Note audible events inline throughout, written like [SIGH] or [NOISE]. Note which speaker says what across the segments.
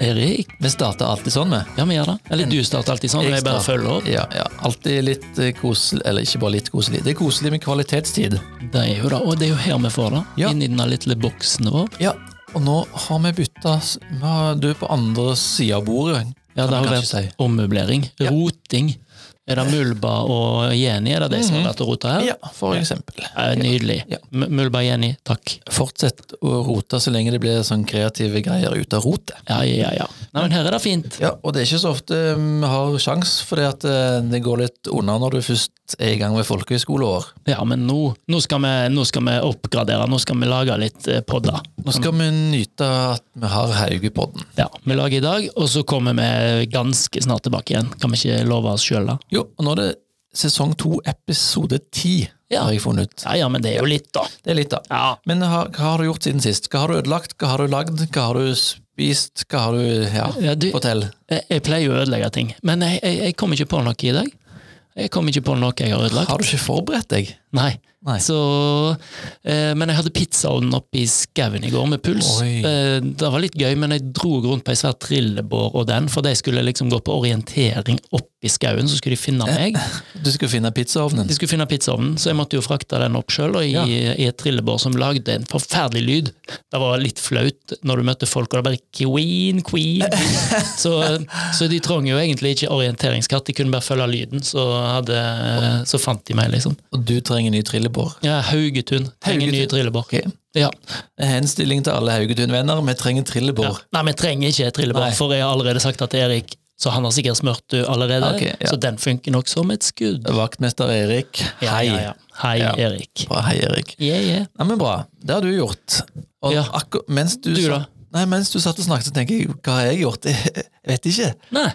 Speaker 1: Erik, vi starter alltid sånn, vi.
Speaker 2: Ja, vi gjør det.
Speaker 1: Eller du starter alltid sånn.
Speaker 2: Jeg
Speaker 1: og
Speaker 2: starter-
Speaker 1: følger opp.
Speaker 2: Ja, ja. Alltid litt eh, koselig, eller ikke bare litt koselig, det er koselig med kvalitetstid.
Speaker 1: Det er jo det, og det er jo her vi får det.
Speaker 2: Ja.
Speaker 1: Inn i den lille boksen vår.
Speaker 2: Ja, og nå har vi bytta s- ja, Du er på andre sida av bordet.
Speaker 1: Ja,
Speaker 2: kan
Speaker 1: det
Speaker 2: man
Speaker 1: har
Speaker 2: kanskje
Speaker 1: vært ommøblering. Roting. Er det Mulba og Jenny? Er det de som har vært og rota her?
Speaker 2: si. Mhm. Ja, for eksempel.
Speaker 1: Eh, Nydelig.
Speaker 2: Ja.
Speaker 1: M- Mulba og Jenny, takk.
Speaker 2: Fortsett å rote så lenge det blir sånn kreative greier ut av rotet.
Speaker 1: Ja, ja, ja. Nei, men her er det fint.
Speaker 2: Ja, og det er ikke så ofte eh, vi har sjans, for det går litt unna når du først er i gang med folkehøyskoleår.
Speaker 1: Ja, men nå, nå, skal, vi, nå skal vi oppgradere. Nå skal vi lage litt eh, podder.
Speaker 2: Nå skal vi nyte at vi har Haugepodden.
Speaker 1: Ja, Vi lager i dag, og så kommer vi ganske snart tilbake igjen. Kan vi ikke love oss sjøl, da?
Speaker 2: Jo, og nå er det sesong to, episode ti,
Speaker 1: Ja.
Speaker 2: har jeg funnet ut.
Speaker 1: Ja, ja, men det er jo litt, da.
Speaker 2: Det er litt, da.
Speaker 1: Ja.
Speaker 2: Men ha, hva har du gjort siden sist? Hva har du ødelagt? Hva har du lagd? Hva har du spist? Hva har du Ja,
Speaker 1: Ja, du-
Speaker 2: fortell.
Speaker 1: Jeg, jeg pleier jo å ødelegge ting, men jeg, jeg, jeg kom ikke på noe i dag. Jeg kom ikke på noe jeg har ødelagt.
Speaker 2: Har du ikke forberedt deg?
Speaker 1: Nei.
Speaker 2: Nei.
Speaker 1: Så, eh, men jeg hadde pizzaovnen oppe i skauen i går med puls.
Speaker 2: Oi.
Speaker 1: Eh, det var litt gøy, men jeg dro rundt på ei svær trillebår og den, for de skulle liksom gå på orientering opp i skauen, så skulle de finne meg.
Speaker 2: Du skulle finne pizzaovnen.
Speaker 1: De skulle finne pizzaovnen, så jeg måtte jo frakte den opp sjøl, i,
Speaker 2: Ja.
Speaker 1: i et trillebår som lagde en forferdelig lyd. Det var litt flaut når du møtte folk, og det bare queen,
Speaker 2: [LAUGHS]
Speaker 1: queen. Så, så de trang jo egentlig ikke orienteringskatt, de kunne bare følge lyden, så, hadde, så fant de meg, liksom.
Speaker 2: Og du trenger ny trillebår.
Speaker 1: Ja, Haugetun. Trenger ny
Speaker 2: Haugetun.
Speaker 1: trillebår.
Speaker 2: Ok.
Speaker 1: Ja.
Speaker 2: En henstilling til alle Haugetun-venner, vi trenger
Speaker 1: ja.
Speaker 2: trillebår.
Speaker 1: Nei, vi trenger ikke et trillebår,
Speaker 2: Nei.
Speaker 1: for jeg har allerede sagt det til Erik, så han har sikkert smurt du allerede,
Speaker 2: Ok, ja.
Speaker 1: så den funker nok som et skudd.
Speaker 2: Vaktmester Erik,
Speaker 1: Ja,
Speaker 2: hei.
Speaker 1: ja, ja. Hei,
Speaker 2: Ja.
Speaker 1: Erik.
Speaker 2: Bra, hei, Erik.
Speaker 1: Yeah, yeah.
Speaker 2: Nei, men bra. Det har du gjort. Og
Speaker 1: Ja.
Speaker 2: akkur- mens du,
Speaker 1: Du
Speaker 2: sa-
Speaker 1: da?
Speaker 2: Nei, mens du satt og snakket, så tenker jeg hva har jeg gjort? [LAUGHS] Jeg vet ikke.
Speaker 1: Nei.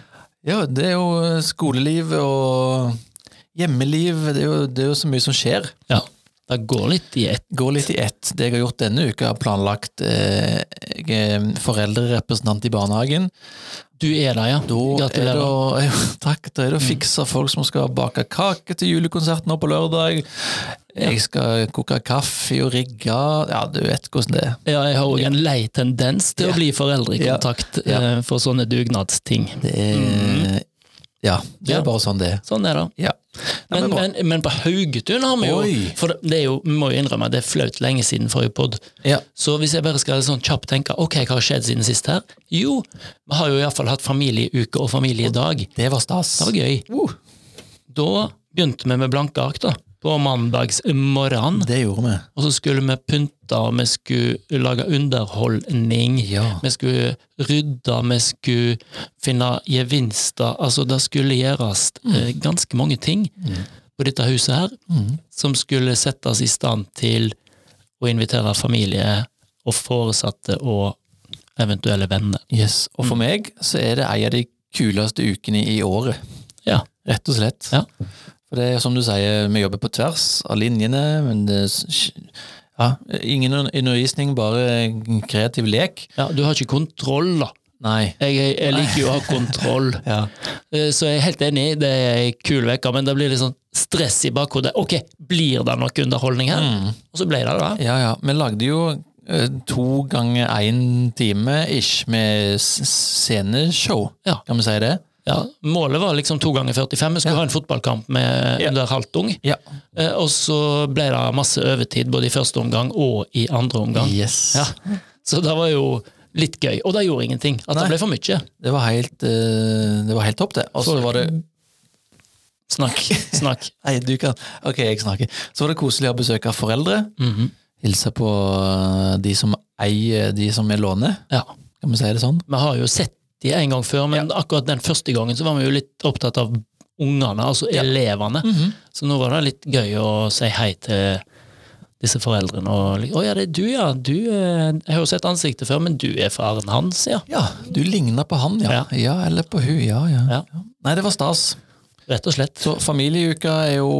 Speaker 2: Ja, det er jo eh, skoleliv og hjemmeliv. Det er jo, det er jo så mye som skjer.
Speaker 1: Ja, det går litt i ett.
Speaker 2: Går litt i ett. Det jeg har gjort denne uka, har planlagt eh, jeg er foreldrerepresentant i barnehagen.
Speaker 1: Du er der, ja.
Speaker 2: Da er det,
Speaker 1: Gratulerer.
Speaker 2: å, [LAUGHS] jo, takk, da er det å fikse folk som skal bake kake til julekonserten nå på lørdag. Jeg skal koke kaffe og rigge. Ja, du vet hvordan det er.
Speaker 1: Ja, jeg har òg en lei tendens til å bli foreldrekontakt
Speaker 2: Ja.
Speaker 1: eh, for sånne dugnadsting.
Speaker 2: Det er, Ja, det
Speaker 1: Ja.
Speaker 2: er bare sånn det er.
Speaker 1: Sånn er det.
Speaker 2: Ja. Nei,
Speaker 1: Men,
Speaker 2: men bra.
Speaker 1: men, men på Haugetun har vi jo
Speaker 2: Oi.
Speaker 1: For det, det er jo, vi må jo innrømme at det er flaut lenge siden forrige pod.
Speaker 2: ja.
Speaker 1: Så hvis jeg bare skal sånn kjapt tenke ok, hva har skjedd siden sist her? Jo, vi har jo iallfall hatt familieuke og familiedag.
Speaker 2: Det var stas.
Speaker 1: Det var gøy.
Speaker 2: Uh,
Speaker 1: Da begynte vi med blanke ark, da. På mandags morgen.
Speaker 2: det gjorde vi.
Speaker 1: Og så skulle vi pynte, og vi skulle lage underholdning.
Speaker 2: Ja.
Speaker 1: Vi skulle rydde, vi skulle finne gevinster. Altså, det skulle gjøres eh, ganske mange ting på dette huset her, som skulle settes i stand til å invitere familie og foresatte og eventuelle venner.
Speaker 2: Yes. Og for meg så er det en av de kuleste ukene i året.
Speaker 1: Ja.
Speaker 2: Rett og slett.
Speaker 1: Ja.
Speaker 2: For det er som du sier, vi jobber på tvers av linjene, men det ja, ingen undervisning, bare kreativ lek.
Speaker 1: ja. Du har ikke kontroll, da.
Speaker 2: Nei.
Speaker 1: Jeg, jeg, jeg liker jo å ha kontroll.
Speaker 2: Ja.
Speaker 1: Eh, Så jeg er helt enig, det er ei kul uke, men det blir litt sånn stress i bakhodet. Ok, blir det noe underholdning her?
Speaker 2: Mm.
Speaker 1: Og så ble det det.
Speaker 2: ja, ja. Vi lagde jo eh, to ganger én time ish med s- sceneshow,
Speaker 1: Ja.
Speaker 2: kan vi si det?
Speaker 1: Ja, målet var liksom to ganger 45. Vi skulle ha en fotballkamp med
Speaker 2: Ja.
Speaker 1: under halvtung.
Speaker 2: Ja.
Speaker 1: Eh, Og så ble det masse overtid både i første omgang og i andre omgang.
Speaker 2: Yes.
Speaker 1: Ja. Så det var jo litt gøy. Og det gjorde ingenting. At
Speaker 2: Nei.
Speaker 1: det ble for mye.
Speaker 2: Det var helt, eh, det var helt topp, det. Og så Mm. var det
Speaker 1: Snakk. Snakk.
Speaker 2: Nei, du kan Ok, jeg snakker. Så var det koselig å besøke foreldre.
Speaker 1: Mhm.
Speaker 2: Hilse på eh, de som eier de som vi låner.
Speaker 1: Ja.
Speaker 2: Kan vi si det sånn?
Speaker 1: Vi har jo sett de en gang før, men akkurat den første gangen så var vi jo litt opptatt av ungene, altså elevene. Så nå var det litt gøy å si hei til disse foreldrene. Og, li- å ja, det er du, ja. Du, eh, jeg har jo sett ansiktet før, men du er faren hans, ja.
Speaker 2: Ja, du ligner på han, ja.
Speaker 1: Ja.
Speaker 2: ja. eller på hun, ja, ja.
Speaker 1: Ja.
Speaker 2: Nei, det var stas.
Speaker 1: Rett og slett.
Speaker 2: Så familieuka er jo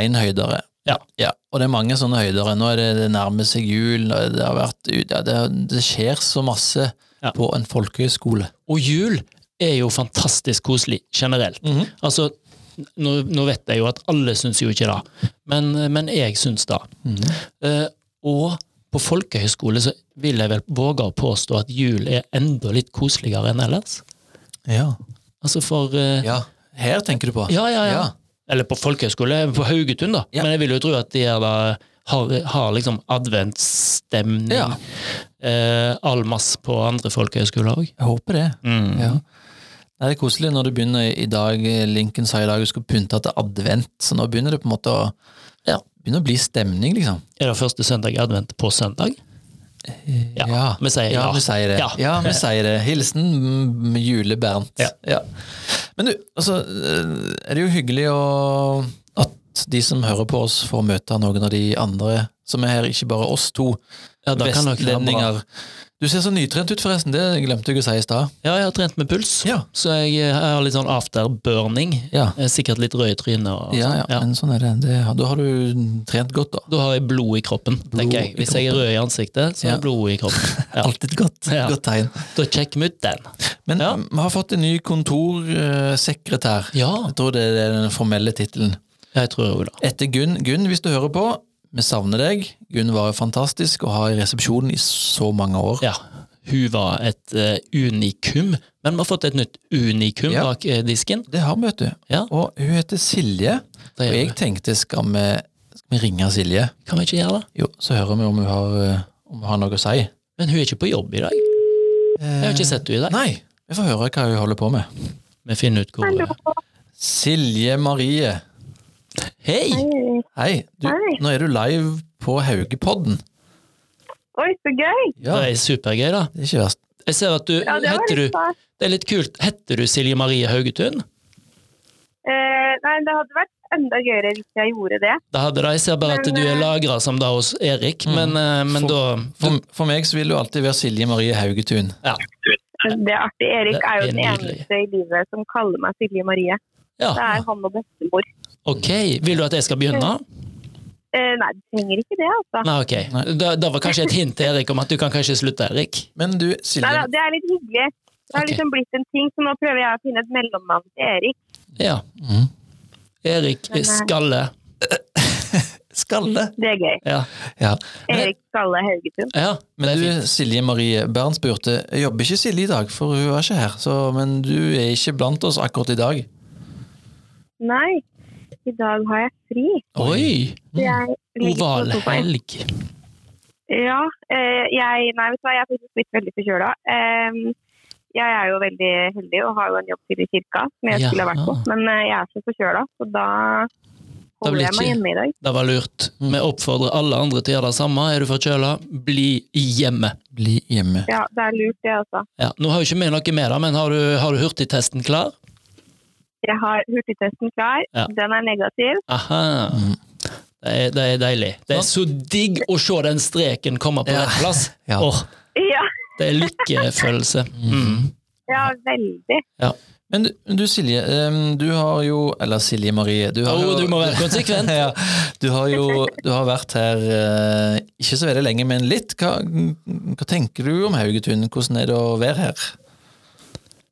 Speaker 2: én høydere.
Speaker 1: Ja.
Speaker 2: Ja, og det er mange sånne høydere. Nå er det, det nærmer seg jul, og det har vært ut- ja, det, det skjer så masse
Speaker 1: Ja.
Speaker 2: på en folkehøyskole.
Speaker 1: Og jul er jo fantastisk koselig generelt. Altså, nå, nå vet
Speaker 2: Mhm.
Speaker 1: jeg jo at alle syns jo ikke det, men, men jeg syns det. Eh, og På folkehøyskole så vil jeg vel våge å påstå at jul er enda litt koseligere enn ellers.
Speaker 2: Ja.
Speaker 1: Altså for eh,
Speaker 2: ja. Her tenker du på?
Speaker 1: Ja, ja, ja.
Speaker 2: Altså, Ja.
Speaker 1: Eller på folkehøyskole, på Haugetun, da.
Speaker 2: Ja.
Speaker 1: Men jeg vil jo tro at de er da, har, har liksom adventsstemning.
Speaker 2: Ja.
Speaker 1: Eh, Almas på andre folkehøyskoler òg.
Speaker 2: Jeg håper det.
Speaker 1: Mm.
Speaker 2: Ja. Nei, Det er koselig når det begynner i dag. Lincoln sa i dag du skulle pynte til advent, så nå begynner det på en måte å ja, begynner å bli stemning, liksom.
Speaker 1: Er det første søndag i advent på søndag? Ja, vi sier
Speaker 2: Eh, ja.
Speaker 1: ja.
Speaker 2: vi sier det.
Speaker 1: Ja.
Speaker 2: Ja,
Speaker 1: [LAUGHS]
Speaker 2: vi sier det. Hilsen mm, Jule-Bernt.
Speaker 1: Ja.
Speaker 2: Men du, altså, eh, er det jo hyggelig å, at de som hører på oss, får møte noen av de andre som er her, ikke bare oss to
Speaker 1: Ja, da kan dere være bra.
Speaker 2: vestlendinger. Du ser så nytrent ut, forresten. Det glemte jeg å si i stad.
Speaker 1: Ja, jeg har trent med puls,
Speaker 2: Ja.
Speaker 1: så jeg, eh, har litt sånn afterburning.
Speaker 2: Ja.
Speaker 1: Jeg er Sikkert litt rød i trynet. og
Speaker 2: Ja,
Speaker 1: sånn.
Speaker 2: ja, men sånn er det. det. Da har du trent godt, da.
Speaker 1: Da har jeg blod i kroppen,
Speaker 2: Blod
Speaker 1: tenker jeg.
Speaker 2: i
Speaker 1: Hvis jeg er rød i ansiktet, så har jeg
Speaker 2: Ja.
Speaker 1: blod i kroppen.
Speaker 2: [LAUGHS]
Speaker 1: Ja.
Speaker 2: Alltid godt.
Speaker 1: Ja.
Speaker 2: Godt tegn.
Speaker 1: Da sjekker vi ut den.
Speaker 2: Men
Speaker 1: Ja.
Speaker 2: vi har fått en ny kontorsekretær.
Speaker 1: Ja,
Speaker 2: Jeg tror det er den formelle tittelen.
Speaker 1: jeg tror jo det.
Speaker 2: Etter Gunn. Gunn, hvis du hører på, vi savner deg. Gunn var jo fantastisk å ha i resepsjonen i så mange år.
Speaker 1: Ja. Hun var et eh, unikum, men vi har fått et nytt unikum
Speaker 2: Ja.
Speaker 1: bak eh, disken.
Speaker 2: Det har vi, vet du.
Speaker 1: Ja.
Speaker 2: Og hun heter Silje. Og
Speaker 1: Det gjør
Speaker 2: jeg
Speaker 1: vi.
Speaker 2: tenkte, skal vi, skal vi ringe Silje?
Speaker 1: Kan vi ikke gjøre det?
Speaker 2: Jo, så hører vi om hun har, eh, om hun har noe å si.
Speaker 1: Men hun er ikke på jobb i dag. Jeg har ikke sett henne i dag.
Speaker 2: Eh, Nei, vi får høre hva hun holder på med.
Speaker 1: Vi finner ut hvor
Speaker 2: Silje Marie.
Speaker 1: Hei!
Speaker 2: Hei, du,
Speaker 3: Hei.
Speaker 2: nå er du live på Haugepodden.
Speaker 3: Oi, så gøy!
Speaker 2: Ja,
Speaker 1: Det er supergøy, da.
Speaker 2: det er ikke verst.
Speaker 1: Jeg ser at du,
Speaker 3: Ja, det var
Speaker 1: heter du
Speaker 3: litt stas.
Speaker 1: Det er litt kult. Heter du Silje Marie Haugetun?
Speaker 3: Eh, nei, det hadde vært enda gøyere hvis jeg gjorde det.
Speaker 1: Det hadde det. Jeg ser bare at
Speaker 3: Men,
Speaker 1: du er
Speaker 3: eh,
Speaker 1: lagra som da hos Erik, men, eh, men
Speaker 2: Mm. For-
Speaker 1: da
Speaker 2: For, for meg så vil du alltid være Silje Marie Haugetun.
Speaker 3: Det er artig. Erik
Speaker 1: Det
Speaker 3: er
Speaker 1: er
Speaker 3: jo den
Speaker 1: nydelig. Ah.
Speaker 3: eneste i livet som kaller meg Silje Marie.
Speaker 1: Ja,
Speaker 3: Det er han og bestemor.
Speaker 1: ok. Vil du at jeg skal begynne?
Speaker 3: Eh, nei, du trenger ikke det, altså.
Speaker 1: Nei, ok.
Speaker 2: Nei.
Speaker 1: Da, da var kanskje et hint til Erik om at du kan kanskje slutte, Erik.
Speaker 2: Men du,
Speaker 3: Nei,
Speaker 2: Silje,
Speaker 3: da, det er litt hyggelig. Det har
Speaker 1: Ok.
Speaker 3: liksom blitt en ting, så nå prøver jeg å finne et mellomnavn til Erik.
Speaker 1: Ja.
Speaker 2: Mhm.
Speaker 1: Erik
Speaker 3: Men,
Speaker 1: [LAUGHS]
Speaker 3: eh,
Speaker 1: Skalle.
Speaker 2: Skalle.
Speaker 3: Det er gøy.
Speaker 1: Ja.
Speaker 2: Ja. Men,
Speaker 3: Erik Skalle Haugetun.
Speaker 1: ja det
Speaker 2: men
Speaker 1: er
Speaker 2: du,
Speaker 1: fint.
Speaker 2: Silje Marie Bernt spurte jeg Jobber ikke Silje i dag, for hun er ikke her. Så, men du er ikke blant oss akkurat i dag.
Speaker 3: Nei, i dag har jeg fri.
Speaker 1: Oi! Mm.
Speaker 3: Jeg ligger på
Speaker 1: Oval
Speaker 3: sofaen.
Speaker 1: helg.
Speaker 3: Ja, eh, jeg, nei, vet du hva, jeg er faktisk blitt veldig forkjøla. Eh, jeg er jo veldig heldig og har jo en jobb til i kirka som jeg skulle ha vært på,
Speaker 1: Jaha.
Speaker 3: men eh, jeg er så forkjøla, så da
Speaker 1: Da blir
Speaker 3: holder jeg meg
Speaker 1: ikke-
Speaker 3: hjemme i dag.
Speaker 1: Det var lurt. Vi oppfordrer alle andre til å gjøre det samme. Er du forkjøla, bli hjemme.
Speaker 2: Bli hjemme.
Speaker 3: Ja, det er lurt, det altså. også.
Speaker 1: Ja. Nå har jo ikke vi noe med det, men har du, har du hurtigtesten klar?
Speaker 3: Jeg har hurtigtesten klar.
Speaker 1: Ja.
Speaker 3: Den er negativ. [LAUGHS]
Speaker 1: Aha. Det er, det er deilig. Det er så digg å se den streken komme på
Speaker 2: Ja.
Speaker 1: rett plass.
Speaker 2: Ja.
Speaker 1: Åh,
Speaker 3: Ja,
Speaker 1: det er lykkefølelse. Mm.
Speaker 3: ja veldig.
Speaker 2: Men du, men du Silje, em, du har jo Eller Silje Marie, du har
Speaker 1: Åh,
Speaker 2: jo
Speaker 1: du må være konsekvent.
Speaker 2: [LAUGHS] ja, du har jo du har vært her eh, ikke så veldig lenge, men litt. Hva, hva tenker du om Haugetun? Hvordan er det å være her?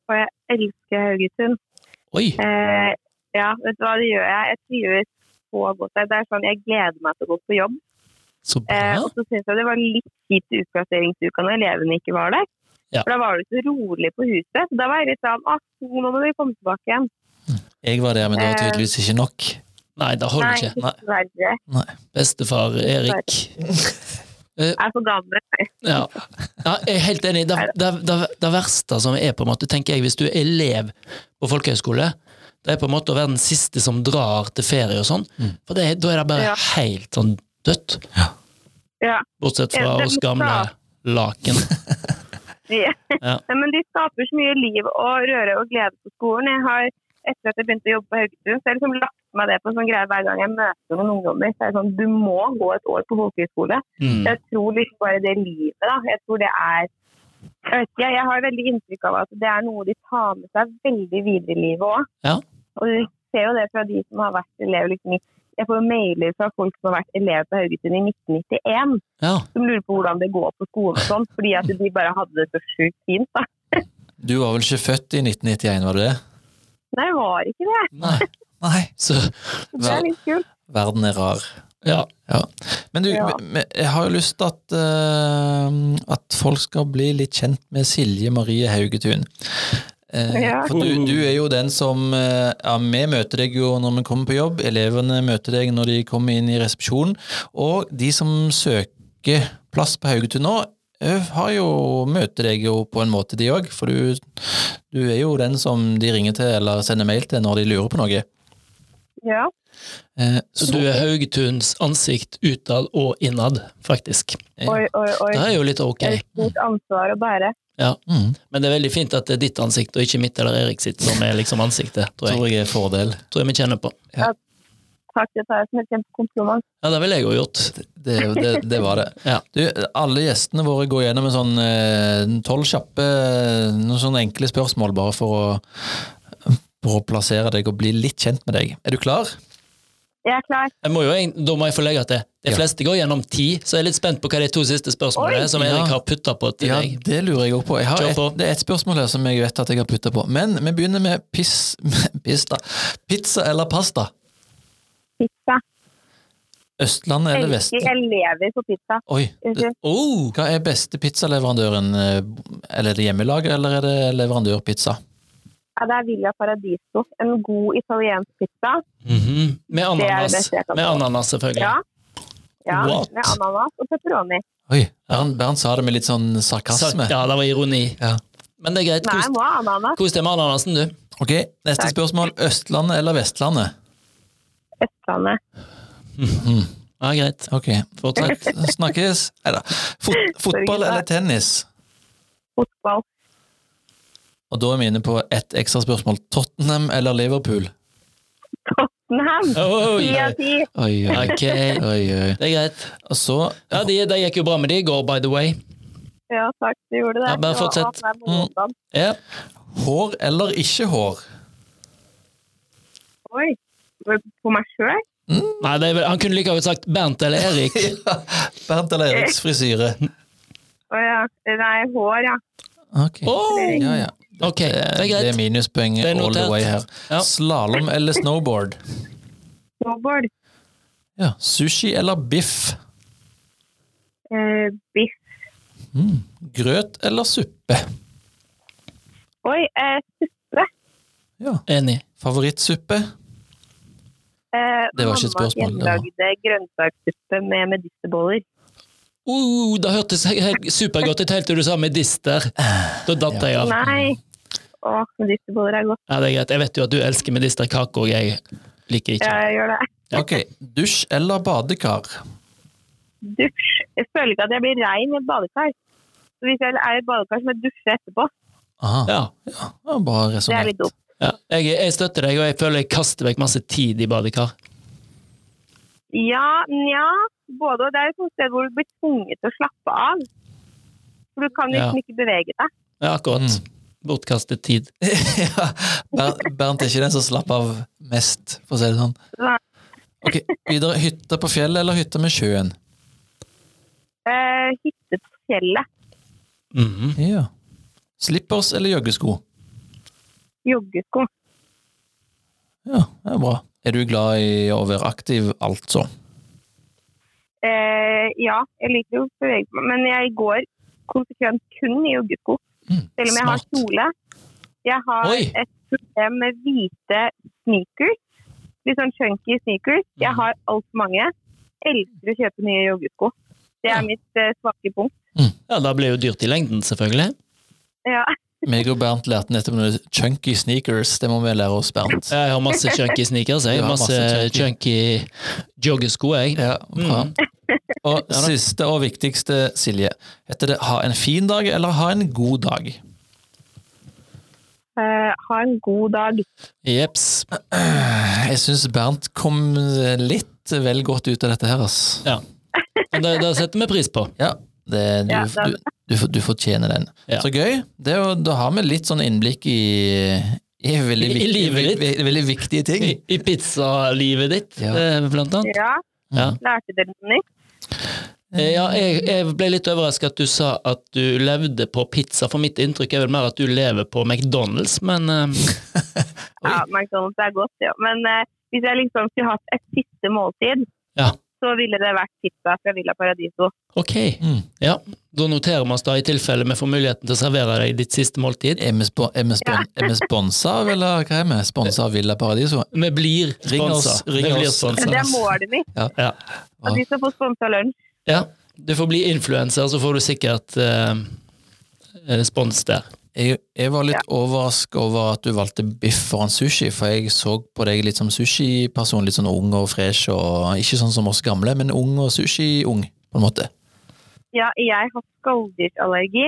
Speaker 3: Og jeg elsker Haugesund.
Speaker 1: Oi.
Speaker 3: Eh, ja, vet du hva, det gjør jeg. Jeg trives så godt der. Det er sånn, jeg gleder meg til å gå på jobb.
Speaker 1: Så
Speaker 3: Eh,
Speaker 1: bra.
Speaker 3: og så synes jeg det var litt kjipt i utplasseringsuka når elevene ikke var der.
Speaker 1: Ja.
Speaker 3: For da var det så rolig på huset. Så da var jeg litt sånn ah, nå må vi komme tilbake igjen.
Speaker 2: Jeg var der, men det var
Speaker 3: Eh.
Speaker 2: tydeligvis ikke nok.
Speaker 1: Nei, det holder ikke.
Speaker 3: Nei, dessverre.
Speaker 1: Bestefar Erik.
Speaker 3: Jeg er for gammel.
Speaker 1: Ja. ja, jeg er helt enig. Det, det, det, det verste som er, på en måte, tenker jeg, hvis du er elev på folkehøyskole, det er på en måte å være den siste som drar til ferie og sånn.
Speaker 2: Mm.
Speaker 1: For det, er- da er det bare
Speaker 3: Ja.
Speaker 1: helt sånn dødt.
Speaker 3: Ja.
Speaker 1: Bortsett fra
Speaker 3: Ja, det er
Speaker 1: oss gamle
Speaker 3: klart.
Speaker 1: laken. Ja.
Speaker 3: Nei, Men de skaper så mye liv og røre og glede på skolen. Jeg har, etter at jeg begynte å jobbe på Haugesund, så har jeg liksom lagt meg det på en sånn greie hver gang jeg møter noen ungdommer. Så er det sånn, du må gå et år på folkehøyskole.
Speaker 1: Mm.
Speaker 3: Jeg tror liksom bare det livet, da. Jeg tror det er Jeg vet ikke, jeg har veldig inntrykk av at det er noe de tar med seg veldig videre i livet òg.
Speaker 1: Ja.
Speaker 3: Og du ser jo det fra de som har vært elev liksom, i- Jeg får jo mailer fra folk som har vært elev på Haugesund i 1991,
Speaker 1: Ja.
Speaker 3: som lurer på hvordan det går på skolen og sånn, fordi at de bare hadde det så sjukt fint. da.
Speaker 2: Du var vel ikke født i 1991, var du det?
Speaker 3: Nei, jeg var ikke det.
Speaker 1: Nei.
Speaker 2: Nei.
Speaker 1: Så
Speaker 3: Det er litt kult.
Speaker 2: Verden er rar.
Speaker 1: Ja.
Speaker 2: Ja. Men du,
Speaker 3: Ja.
Speaker 2: men jeg har jo lyst til at, eh, at folk skal bli litt kjent med Silje Marie Haugetun. Eh,
Speaker 3: Ja.
Speaker 2: For du, du er jo den som eh, Ja, vi møter deg jo når vi kommer på jobb, elevene møter deg når de kommer inn i resepsjonen, og de som søker plass på Haugetun nå, eh, har jo, møter deg jo på en måte, de òg. For du, du er jo den som de ringer til eller sender mail til når de lurer på noe.
Speaker 3: Ja.
Speaker 2: Eh,
Speaker 1: Så du er Haugetuns ansikt utad og innad, faktisk.
Speaker 2: Ja.
Speaker 3: Oi, oi, oi.
Speaker 1: Det er jo litt ok,
Speaker 3: Det er et stort ansvar å bære.
Speaker 2: mm,
Speaker 1: men det er veldig fint at det er ditt ansikt og ikke mitt eller Erik sitt som er liksom ansiktet, tror jeg.
Speaker 2: tror jeg er fordel.
Speaker 1: Tror jeg vi kjenner på.
Speaker 3: Takk, det tar jeg som et kjempekompliment.
Speaker 1: Ja, det ville jeg òg gjort.
Speaker 2: Det, det, det var det.
Speaker 1: Ja.
Speaker 2: Du, alle gjestene våre går gjennom en sånn eh, tolv kjappe eh, noen sånne enkle spørsmål, bare for å, for å plassere deg og bli litt kjent med deg. Er du klar?
Speaker 3: Jeg er klar.
Speaker 1: Jeg må jo, en- da må jeg få legge til. De
Speaker 2: Ja.
Speaker 1: fleste går gjennom ti, så jeg er litt spent på hva de to siste spørsmålene
Speaker 3: Oi.
Speaker 1: er som
Speaker 2: Ja.
Speaker 1: Erik har putta på til
Speaker 2: Ja,
Speaker 1: deg.
Speaker 2: det lurer jeg òg på. Jeg har
Speaker 1: Kjør
Speaker 2: et,
Speaker 1: på.
Speaker 2: det er et spørsmål her som jeg vet at jeg har putta på. Men vi begynner med piss, [LAUGHS] piss da. pizza eller pasta.
Speaker 3: Pizza.
Speaker 2: Østlandet
Speaker 3: Jeg,
Speaker 2: eller
Speaker 3: elsker-
Speaker 2: Vest?
Speaker 3: jeg lever for pizza.
Speaker 2: Oi.
Speaker 3: Unnskyld.
Speaker 1: Oh,
Speaker 2: Hva er beste pizzaleverandøren? eh, Er det hjemmelaget, eller er det leverandørpizza?
Speaker 3: Ja, det er Villa Paradiso. En god italiensk pizza.
Speaker 1: mhm. Med
Speaker 3: det
Speaker 1: ananas.
Speaker 3: beste jeg kan
Speaker 1: Med
Speaker 3: få.
Speaker 1: ananas, selvfølgelig.
Speaker 3: Ja. ja
Speaker 1: What?
Speaker 3: med ananas og pepperoni.
Speaker 2: Oi, Bernt, Bernt sa det med litt sånn sarkasme.
Speaker 1: Sa- ja, det var ironi.
Speaker 2: Ja.
Speaker 1: Men det er greit.
Speaker 3: Nei,
Speaker 1: Kos,
Speaker 3: må ha ananas.
Speaker 1: kos deg med ananasen, du.
Speaker 2: Ok, neste
Speaker 3: Takk.
Speaker 2: spørsmål. Østlandet eller Vestlandet? Hmm,
Speaker 3: Østlandet.
Speaker 1: Ja, greit.
Speaker 2: Ok,
Speaker 1: Fortsett.
Speaker 2: snakkes. Neida. Fot fotball eller tennis?
Speaker 3: Fotball.
Speaker 2: Og da er vi inne på ett ekstra spørsmål. Tottenham eller Liverpool?
Speaker 3: Tottenham. Ti
Speaker 1: Oi.
Speaker 3: av ti.
Speaker 2: Oi, oi,
Speaker 1: Ok,
Speaker 2: oi. oi.
Speaker 1: det er greit.
Speaker 2: Og så
Speaker 1: Ja, Det de gikk jo bra med de i går, by the way.
Speaker 3: Ja, takk. Du gjorde det.
Speaker 1: Ja, bare fortsett.
Speaker 3: Det var- det var morgendagen.
Speaker 1: Ja.
Speaker 2: hår eller ikke hår? [LAUGHS]
Speaker 3: Oi. På meg sjøl?
Speaker 1: Nei, det er, vel- Han kunne like godt sagt Bernt eller
Speaker 3: [LAUGHS]
Speaker 1: Erik.
Speaker 2: Bernt eller Eriks frisyre?
Speaker 3: Å ja. Nei, hår, ja.
Speaker 2: Ok.
Speaker 1: Oh!
Speaker 2: Ja, ja.
Speaker 1: Ok, det
Speaker 2: Eh,
Speaker 1: er
Speaker 2: Det er
Speaker 1: greit.
Speaker 2: minuspoeng
Speaker 1: Det er
Speaker 2: all the
Speaker 1: notert.
Speaker 2: way her.
Speaker 1: Ja.
Speaker 2: Slalåm eller snowboard?
Speaker 3: Snowboard.
Speaker 2: Ja. Sushi eller biff?
Speaker 3: Eh, biff.
Speaker 2: Grøt eller suppe?
Speaker 3: Oi, eh, suppe.
Speaker 2: Ja.
Speaker 1: Enig.
Speaker 2: Favorittsuppe?
Speaker 3: Eh,
Speaker 2: Det var ikke et spørsmål, det
Speaker 3: Mamma
Speaker 2: var-
Speaker 3: hjemmelagde grønnsakssuppe med medisterboller.
Speaker 1: Uh, det hørtes he- he- supergodt ut helt til du sa medister. Da datt jeg av.
Speaker 3: Nei! Å, medisterboller er godt.
Speaker 1: Ja, det er greit. Jeg vet jo at du elsker medisterkake, og jeg liker
Speaker 3: Ja,
Speaker 1: ikke.
Speaker 3: jeg gjør det.
Speaker 2: Ok. Dusj eller badekar?
Speaker 3: Dusj. Jeg føler ikke at jeg blir rein i et badekar. Så hvis jeg er i et badekar, så må jeg dusje etterpå.
Speaker 2: Aha.
Speaker 1: Ja,
Speaker 2: Det var Bare
Speaker 3: Det er
Speaker 2: resonert.
Speaker 3: litt dumt.
Speaker 1: ja. Jeg, jeg støtter deg, og jeg føler jeg kaster vekk masse tid i badekar.
Speaker 3: Ja, nja. Både og. Det er et sånt sted hvor du blir tvunget til å slappe av. For du kan liksom ikke bevege deg.
Speaker 1: Ja, akkurat.
Speaker 2: Mm.
Speaker 1: Bortkastet tid.
Speaker 2: [LAUGHS] ja, Ber- Bernt er ikke den som slapp av mest, for å si det sånn.
Speaker 3: Nei.
Speaker 2: Ok, Videre. Hytte på fjellet eller hytte med sjøen?
Speaker 3: Eh, hytte på fjellet.
Speaker 1: Mhm.
Speaker 2: Ja. Slippers eller joggesko?
Speaker 3: Joggesko.
Speaker 2: Ja, det er bra. Er du glad i å være aktiv, altså?
Speaker 3: Eh, ja, jeg liker jo å bevege meg, men jeg går konsekvent kun i joggesko.
Speaker 2: Mm,
Speaker 3: Selv om jeg har
Speaker 1: smart.
Speaker 3: kjole. Jeg har
Speaker 1: Oi.
Speaker 3: et problem med hvite sneakers. Litt sånn chunky sneakers. Jeg
Speaker 1: Mm.
Speaker 3: har altfor mange. Elsker å kjøpe nye joggesko. Det er mitt eh, svake punkt.
Speaker 1: Ja, da blir jo dyrt i lengden, selvfølgelig.
Speaker 3: Ja.
Speaker 2: Meg og Bernt lærte nettopp noe chunky sneakers. Det må vi lære oss, Bernt.
Speaker 1: Jeg har masse chunky sneakers, jeg.
Speaker 2: Du har masse
Speaker 1: Masse chunky joggesko, jeg.
Speaker 2: Ja, bra. Og siste og viktigste, Silje. Heter det 'ha en fin dag' eller 'ha en god dag'?
Speaker 3: Eh, ha en god dag.
Speaker 1: Jeps.
Speaker 2: Jeg syns Bernt kom litt vel godt ut av dette her, ass.
Speaker 1: Ja. Men det, det setter vi pris på.
Speaker 2: Ja, det, du,
Speaker 3: Ja, det er
Speaker 2: du, du, får- du fortjener den.
Speaker 1: Ja.
Speaker 2: Så gøy. Det, er jo- da har vi litt sånn innblikk i, i, veldig,
Speaker 1: I- i
Speaker 2: viktig,
Speaker 1: livet ditt.
Speaker 2: ve- veldig viktige
Speaker 1: I,
Speaker 2: ting.
Speaker 1: i pizzalivet ditt,
Speaker 2: Ja.
Speaker 1: eh, blant annet.
Speaker 3: Ja.
Speaker 1: Ja.
Speaker 3: Lærte dere noe nytt?
Speaker 1: Eh, Ja, jeg, jeg ble litt overrasket at du sa at du levde på pizza, for mitt inntrykk er vel mer at du lever på McDonald's, men eh,
Speaker 3: Ja, McDonald's er godt, ja. Men eh, hvis jeg liksom skulle hatt et siste måltid,
Speaker 1: ja.
Speaker 3: så ville det vært pizza fra Villa Paradiso.
Speaker 1: Ok,
Speaker 2: Mm.
Speaker 1: ja. Da noterer vi oss da, i tilfelle vi får muligheten til å servere deg ditt siste måltid.
Speaker 2: Er vi spo- er vi spon- er vi sponsa av, eller hva er vi? Sponsa av Villa Paradiso?
Speaker 1: Vi blir
Speaker 2: Ring oss,
Speaker 1: sponsa. Vi
Speaker 2: ring
Speaker 1: blir
Speaker 2: oss.
Speaker 1: sponsa.
Speaker 3: Men det er målet mitt,
Speaker 1: Sånn. Ja.
Speaker 3: at de skal få sponsa lunsj.
Speaker 1: ja. Du får bli influenser, så får du sikkert eh, eh, spons der.
Speaker 2: Jeg, jeg var litt overrasket over at du valgte biff foran sushi, for jeg så på deg litt som sushiperson, litt sånn ung og fresh, og ikke sånn som oss gamle, men ung og sushi-ung, på en måte.
Speaker 3: Ja, jeg har skalldyrallergi,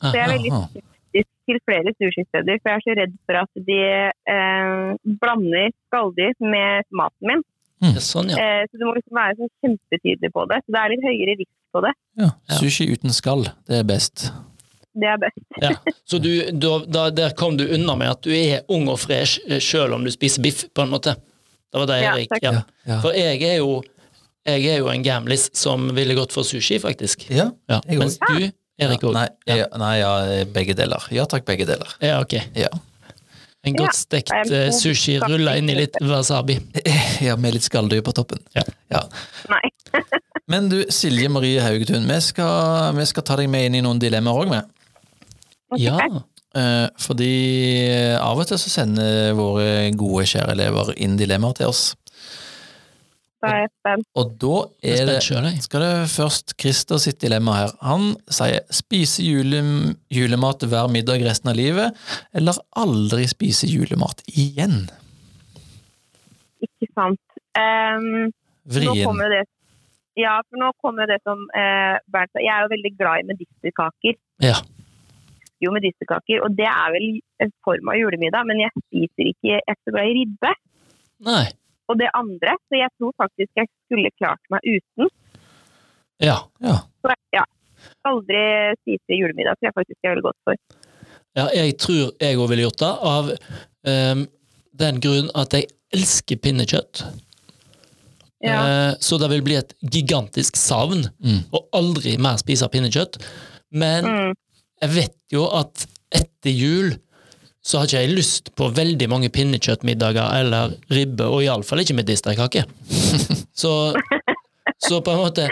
Speaker 3: så jeg er veldig
Speaker 2: Aha.
Speaker 3: skeptisk til flere sushisteder. For jeg er så redd for at de eh, blander skalldyr med maten min.
Speaker 1: Ja, Sånn, ja.
Speaker 3: Eh, så du må liksom være sånn kjempetydelig på det. Så det er litt høyere risk på det.
Speaker 2: Ja.
Speaker 1: Ja.
Speaker 2: Sushi uten skall, det er best.
Speaker 3: Det er best.
Speaker 1: ja. Så du, da, da, der kom du unna med at du er ung og fresh eh, selv om du spiser biff, på en måte. Det var det,
Speaker 3: Ja,
Speaker 1: Erik.
Speaker 3: takk.
Speaker 1: Ja,
Speaker 2: Ja.
Speaker 1: For jeg er jo jeg er jo en gamlis som ville gått for sushi, faktisk.
Speaker 2: Ja.
Speaker 1: Ja.
Speaker 2: Jeg
Speaker 1: Mens du, Erik, òg.
Speaker 2: Nei, jeg, nei, ja, begge deler. Ja takk, begge deler.
Speaker 1: Ja, ok.
Speaker 2: Ja,
Speaker 1: En godt stekt
Speaker 3: Ja, jeg er
Speaker 1: eh,
Speaker 3: en
Speaker 1: sushi
Speaker 3: god
Speaker 1: rulla inn i litt wasabi.
Speaker 2: [LAUGHS] ja med litt skalldyr på toppen.
Speaker 1: Ja.
Speaker 2: ja.
Speaker 3: Nei.
Speaker 2: Men du, Silje Marie Haugetun, vi skal, vi skal ta deg med inn i noen dilemmaer òg, vi.
Speaker 1: Ja.
Speaker 2: Eh, fordi eh, av og til så sender våre gode, kjære elever inn dilemmaer til oss.
Speaker 3: Da er jeg spent.
Speaker 2: Og da
Speaker 1: Jeg
Speaker 2: er
Speaker 1: er
Speaker 2: det
Speaker 1: spent selv, jeg.
Speaker 2: Skal det først Christer sitt dilemma her. Han sier 'spise jule, julemat hver middag resten av livet', eller 'aldri spise julemat igjen'.
Speaker 3: Ikke sant. Ehm, nå
Speaker 2: Vrien.
Speaker 3: kommer jo det ja, for nå kommer jo det som eh, Bernt sa. Jeg er jo veldig glad i medisterkaker.
Speaker 1: Ja.
Speaker 3: Jo, medisterkaker. Og det er vel en form av julemiddag, men jeg spiser ikke Jeg er så glad i ribbe.
Speaker 1: Nei.
Speaker 3: og det andre. Så jeg tror faktisk jeg skulle klart meg uten.
Speaker 1: Ja.
Speaker 2: Ja.
Speaker 3: Så ja, aldri spise julemiddag, tror jeg faktisk jeg ville gått for.
Speaker 1: Ja, jeg tror jeg òg ville gjort det, av ehm, den grunn at jeg elsker pinnekjøtt.
Speaker 3: Ja.
Speaker 1: Eh, så det vil bli et gigantisk savn
Speaker 2: Mm.
Speaker 1: å aldri mer spise pinnekjøtt. Men
Speaker 3: Mm.
Speaker 1: jeg vet jo at etter jul så har ikke jeg lyst på veldig mange pinnekjøttmiddager eller ribbe, og iallfall ikke med disterkake. [LAUGHS] Så, så på en måte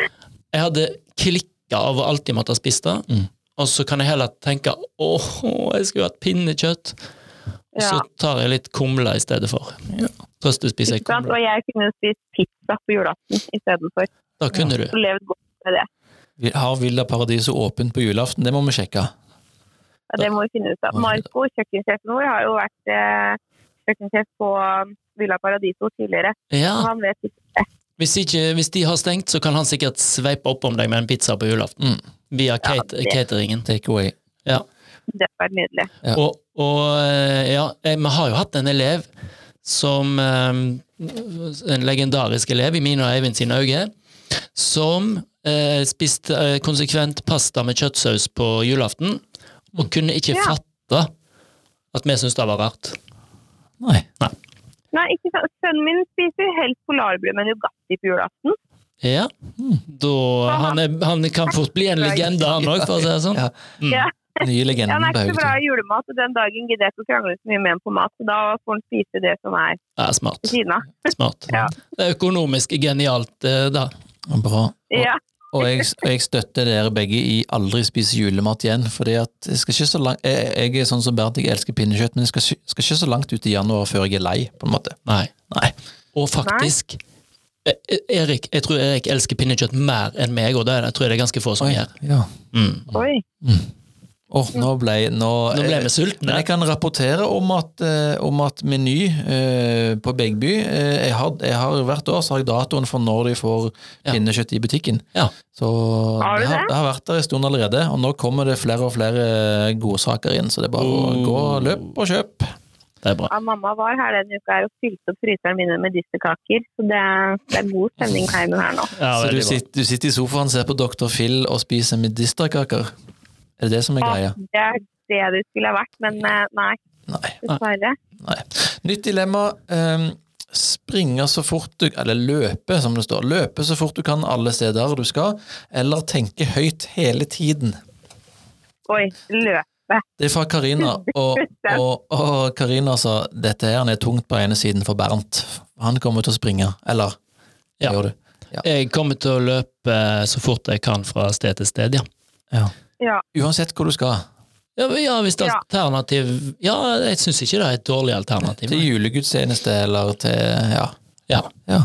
Speaker 1: Jeg hadde klikka av å alltid måtte ha spist det,
Speaker 2: Mm.
Speaker 1: og så kan jeg heller tenke åh, jeg skulle hatt pinnekjøtt. Og
Speaker 3: Ja.
Speaker 1: så tar jeg litt kumle i stedet for. Trøstespiser jeg
Speaker 3: Ikke sant?
Speaker 1: kumle.
Speaker 3: Og jeg kunne spist pizza på julaften istedenfor.
Speaker 1: Da kunne du.
Speaker 3: Og levd godt med det.
Speaker 2: Vi Har Villa Paradiso åpent på julaften? Det må vi sjekke.
Speaker 3: Ja, det må vi finne ut av.
Speaker 2: Ja.
Speaker 3: Marco, kjøkkensjefen vår, har jo vært eh, kjøkkensjef på Villa Paradiso tidligere.
Speaker 1: Ja.
Speaker 3: Og han vet ikke
Speaker 1: Hvis, ikke, hvis de har stengt, så kan han sikkert sveipe oppom deg med en pizza på julaften. Via kate-
Speaker 3: det-
Speaker 1: cateringen.
Speaker 2: Take away.
Speaker 1: Ja.
Speaker 3: Det hadde vært nydelig.
Speaker 2: Ja.
Speaker 1: Og, og eh, ja, eh, vi har jo hatt en elev som eh, En legendarisk elev i mine og Eivind sine øyne, som eh, spiste eh, konsekvent pasta med kjøttsaus på julaften, og kunne ikke
Speaker 3: Ja.
Speaker 1: fatte at vi syntes det var rart.
Speaker 2: Nei.
Speaker 3: Nei, ikke sant. Sønnen min spiser helst polarbrød med Nugatti på julaften.
Speaker 1: Ja. Da, han, er, han kan fort bli en legende, han òg, for å si det sånn.
Speaker 2: Ja.
Speaker 1: Mm.
Speaker 3: Ja.
Speaker 2: Nye
Speaker 3: Ja,
Speaker 2: legenden
Speaker 3: han er
Speaker 2: på
Speaker 3: ikke så glad
Speaker 2: Haugetun.
Speaker 3: i julemat, og den dagen gidder jeg ikke å krangle så mye med ham på mat, så da får han spise det som er
Speaker 1: Ja, smart.
Speaker 3: ved siden av.
Speaker 1: smart.
Speaker 3: Ja.
Speaker 1: Det er økonomisk genialt, eh, da.
Speaker 2: Bra. Og,
Speaker 3: Ja.
Speaker 2: og, jeg, og jeg støtter dere begge i aldri spise julemat igjen. fordi at jeg, skal ikke så langt, jeg, jeg er sånn som Bernt, jeg elsker pinnekjøtt, men jeg skal, ikke- skal ikke så langt ut i januar før jeg er lei. på en måte.
Speaker 1: Nei.
Speaker 2: Nei.
Speaker 1: Og faktisk eh, eh, Erik, Jeg tror Erik elsker pinnekjøtt mer enn meg, og det er- jeg tror jeg det er ganske få som
Speaker 2: Oi,
Speaker 1: gjør.
Speaker 2: ja.
Speaker 1: Mm.
Speaker 3: Oi.
Speaker 2: Åh, nå ble, nå,
Speaker 1: Nå ble vi
Speaker 2: Men
Speaker 1: sultne.
Speaker 2: jeg kan rapportere om at, eh, om at Meny eh, på Begby eh, jeg har, jeg har Hvert år så har jeg datoen for når de får
Speaker 1: Ja.
Speaker 2: pinnekjøtt i butikken.
Speaker 1: Ja.
Speaker 2: Så
Speaker 3: Har du
Speaker 2: det har,
Speaker 3: det?
Speaker 2: det har vært der en stund allerede, og nå kommer det flere og flere eh, godsaker inn. Så det er bare å
Speaker 1: Oh.
Speaker 2: gå, løp og kjøp.
Speaker 1: Det er bra.
Speaker 3: Ja, mamma var her denne uka her og fylte opp fryseren min med medisterkaker. Så det, det er god stemning i heimen her nå.
Speaker 1: Ja,
Speaker 2: så du
Speaker 1: veldig bra.
Speaker 2: sitter, du sitter i sofaen, ser på Dr. Phil og spiser medisterkaker? Er det det som er greia?
Speaker 3: Ja, Det er det det skulle ha vært, men eh, nei,
Speaker 2: Nei.
Speaker 3: dessverre.
Speaker 2: Nei. Nytt dilemma. ehm, springe så fort du Eller løpe, som det står. Løpe så fort du kan alle steder du skal, eller tenke høyt hele tiden.
Speaker 3: Oi, løp.
Speaker 2: [LAUGHS] Det er fra Karina, og, og, og Karina sa dette her er tungt på ene siden for Bernt. Han kommer til å springe, eller?
Speaker 1: Ja.
Speaker 2: Gjør du? Ja.
Speaker 1: Jeg kommer til å løpe eh, så fort jeg kan fra sted til sted, ja.
Speaker 3: Ja.
Speaker 2: Uansett hvor du skal.
Speaker 1: Ja, men ja hvis det er
Speaker 3: Ja.
Speaker 1: alternativ Ja, jeg syns ikke det er et dårlig alternativ.
Speaker 2: Til julegudstjeneste eller til Ja.
Speaker 1: Ja.
Speaker 2: Ja.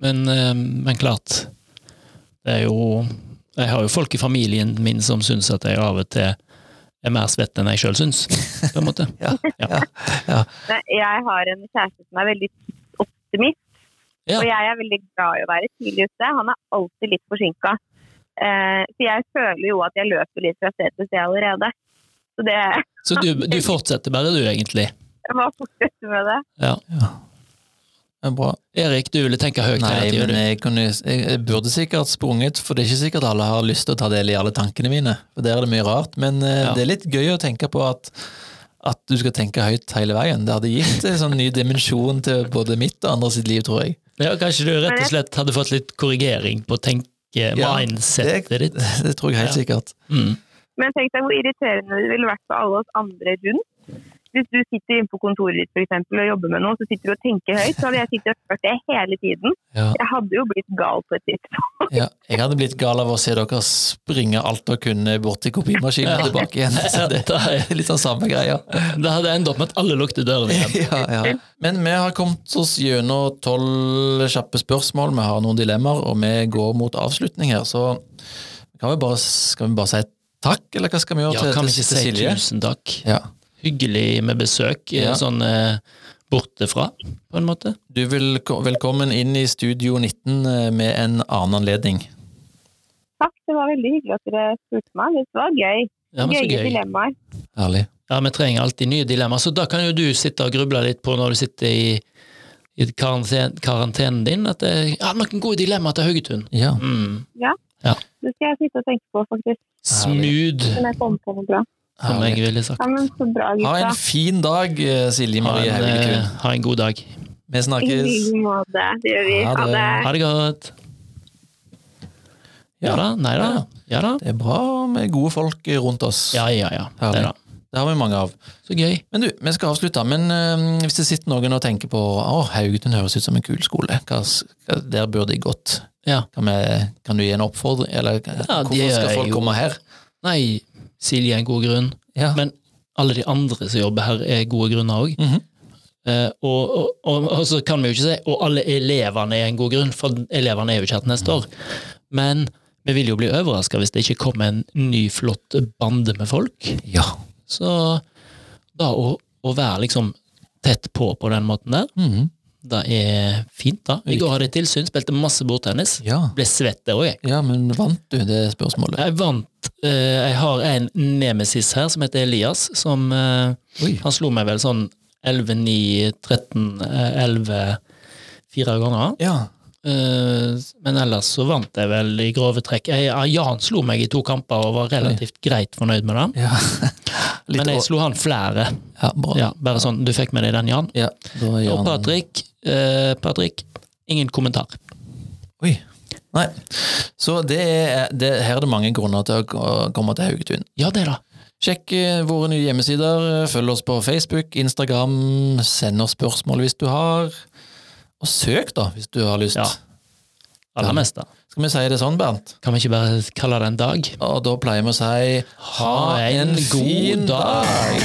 Speaker 1: Men, eh, men klart Det er jo Jeg har jo folk i familien min som syns at jeg av og til er mer svett enn jeg sjøl syns, på en [LAUGHS] måte.
Speaker 2: Ja.
Speaker 3: Nei, Jeg har en kjæreste som er veldig tidsoptimist,
Speaker 1: Ja.
Speaker 3: og jeg er veldig glad i å være tidlig ute. Han er alltid litt forsinka. Eh, så jeg føler jo at jeg løper litt fra sted til sted allerede. Så det [LAUGHS]
Speaker 1: Så du, du fortsetter bare, du, egentlig.
Speaker 3: jeg må fortsette med det.
Speaker 2: Det er bra.
Speaker 1: Erik, du ville tenke høyt
Speaker 2: Nei,
Speaker 1: hele
Speaker 2: men
Speaker 1: tiden. du.
Speaker 2: jeg, kunne, jeg jeg burde sikkert sprunget, for det er ikke sikkert alle har lyst til å ta del i alle tankene mine. For der er det mye rart. Men eh,
Speaker 1: Ja.
Speaker 2: det er litt gøy å tenke på at, at du skal tenke høyt hele veien. Det hadde gitt en sånn ny dimensjon til både mitt og andre sitt liv, tror jeg.
Speaker 1: Ja, kanskje du rett og slett hadde fått litt korrigering på tenke,
Speaker 2: Ja,
Speaker 1: mindsetet
Speaker 2: det,
Speaker 1: ditt.
Speaker 2: [LAUGHS] det tror jeg helt
Speaker 1: Ja.
Speaker 2: sikkert. [LAUGHS]
Speaker 1: Mm.
Speaker 3: Men tenk deg hvor irriterende det ville vært for alle oss andre rundt. Hvis du sitter inne på kontoret ditt for eksempel, og jobber med noe, så sitter du og tenker høyt. Så hadde jeg sittet og hørt det hele tiden.
Speaker 2: Ja.
Speaker 3: Jeg hadde jo blitt gal på et tidspunkt.
Speaker 2: Ja, jeg hadde blitt gal av å se dere springe alt dere kunne bort til kopimaskinen og tilbake
Speaker 1: [LAUGHS]
Speaker 2: igjen. Så det, det er litt sånn samme greia.
Speaker 1: Det hadde endt opp med at alle lukter døren
Speaker 2: [LAUGHS]
Speaker 1: igjen.
Speaker 2: Ja, ja. Men vi har kommet oss gjennom tolv kjappe spørsmål, vi har noen dilemmaer, og vi går mot avslutning her, så kan vi bare, skal vi bare si takk, eller hva skal vi gjøre
Speaker 1: Ja,
Speaker 2: til,
Speaker 1: kan vi
Speaker 2: til,
Speaker 1: ikke
Speaker 2: til
Speaker 1: si
Speaker 2: Silje?
Speaker 1: tusen takk?
Speaker 2: Ja.
Speaker 1: Hyggelig med besøk, eh,
Speaker 2: Ja.
Speaker 1: sånn eh, bortefra, på en måte.
Speaker 2: Du er velko- velkommen inn i Studio 19 eh, med en annen anledning.
Speaker 3: Takk, det var veldig hyggelig at dere spurte meg. Det var gøy.
Speaker 1: Ja, men så
Speaker 3: Gøye
Speaker 1: gøy.
Speaker 3: dilemmaer.
Speaker 2: Herlig.
Speaker 1: Ja, vi trenger alltid nye dilemmaer, så da kan jo du sitte og gruble litt på når du sitter i, i karantene, karantenen din, at det er noen gode dilemmaer til Haugetun.
Speaker 2: Ja.
Speaker 1: Mm.
Speaker 3: Det skal jeg sitte og tenke på, faktisk.
Speaker 1: Smooth,
Speaker 3: Når jeg kommer på noe bra.
Speaker 1: som jeg
Speaker 2: Herlig.
Speaker 1: ville sagt.
Speaker 3: Ja, men så bra,
Speaker 2: Ha
Speaker 3: gutta.
Speaker 2: en fin dag, eh, Silje
Speaker 1: Ha
Speaker 2: Marie
Speaker 1: en, eh,
Speaker 2: Hauglekun.
Speaker 1: ha en god dag.
Speaker 2: Vi
Speaker 3: I
Speaker 2: snakkes.
Speaker 3: like måte. Det gjør vi.
Speaker 2: Ha
Speaker 3: Ha
Speaker 2: det.
Speaker 3: det.
Speaker 1: Ha det godt. Ja
Speaker 2: Ja.
Speaker 1: da, nei da. Ja da.
Speaker 2: Det er bra med gode folk eh, rundt oss.
Speaker 1: Ja, ja, ja. Det da.
Speaker 2: Det har vi mange av.
Speaker 1: Så gøy.
Speaker 2: Men du, vi skal avslutte, men eh, hvis det sitter noen og tenker på å, Haugetun høres ut som en kul skole, hva, s- hva, der burde de gått.
Speaker 1: Ja.
Speaker 2: Kan, vi, kan du gi en oppfordring, eller hvorfor
Speaker 1: det
Speaker 2: skal
Speaker 1: er
Speaker 2: folk
Speaker 1: jo-
Speaker 2: komme her?
Speaker 1: Nei, Silje er en god grunn,
Speaker 2: Ja.
Speaker 1: men alle de andre som jobber her, er gode grunner òg.
Speaker 2: Mhm.
Speaker 1: Eh, og, og, og, og så kan vi jo ikke si og alle elevene er en god grunn, for elevene er jo ikke her til neste år. Men vi vil jo bli overraska hvis det ikke kommer en ny, flott bande med folk.
Speaker 2: ja.
Speaker 1: Så da å, å være liksom tett på på den måten der,
Speaker 2: Mhm.
Speaker 1: det er fint, da. I går hadde jeg tilsyn, spilte masse bordtennis.
Speaker 2: ja.
Speaker 1: Ble svett der òg, jeg.
Speaker 2: Ja, men vant du det spørsmålet?
Speaker 1: Jeg vant eh, Jeg har en nemesis her som heter Elias, som eh,
Speaker 2: Oi.
Speaker 1: Han slo meg vel sånn 11, 9, 13, eh, 11 fire ganger.
Speaker 2: Ja.
Speaker 1: Eh, Men ellers så vant jeg vel i grove trekk. Jeg, eh, ja, Jan slo meg i to kamper og var relativt greit fornøyd med det.
Speaker 2: ja. [LAUGHS] Litt
Speaker 1: Men
Speaker 2: å-
Speaker 1: jeg slo han flere.
Speaker 2: Ja, bra. Ja.
Speaker 1: Ja, bare sånn, du fikk med deg den, Jan.
Speaker 2: da gjør
Speaker 1: Og
Speaker 2: han-
Speaker 1: Patrick, eh, Patrick ingen kommentar.
Speaker 2: Oi. Nei. Så det er, det, her er det mange grunner til å k- komme til Haugetun.
Speaker 1: Ja, det da.
Speaker 2: Sjekk eh, våre nye hjemmesider, eh, følg oss på Facebook, Instagram, send oss spørsmål hvis du har, og søk da, hvis du har lyst.
Speaker 1: Ja. Aller mest, da.
Speaker 2: Skal vi si det sånn, Bernt?
Speaker 1: Kan vi ikke bare kalle det en dag?
Speaker 2: Og da pleier vi å si
Speaker 1: Ha en god dag.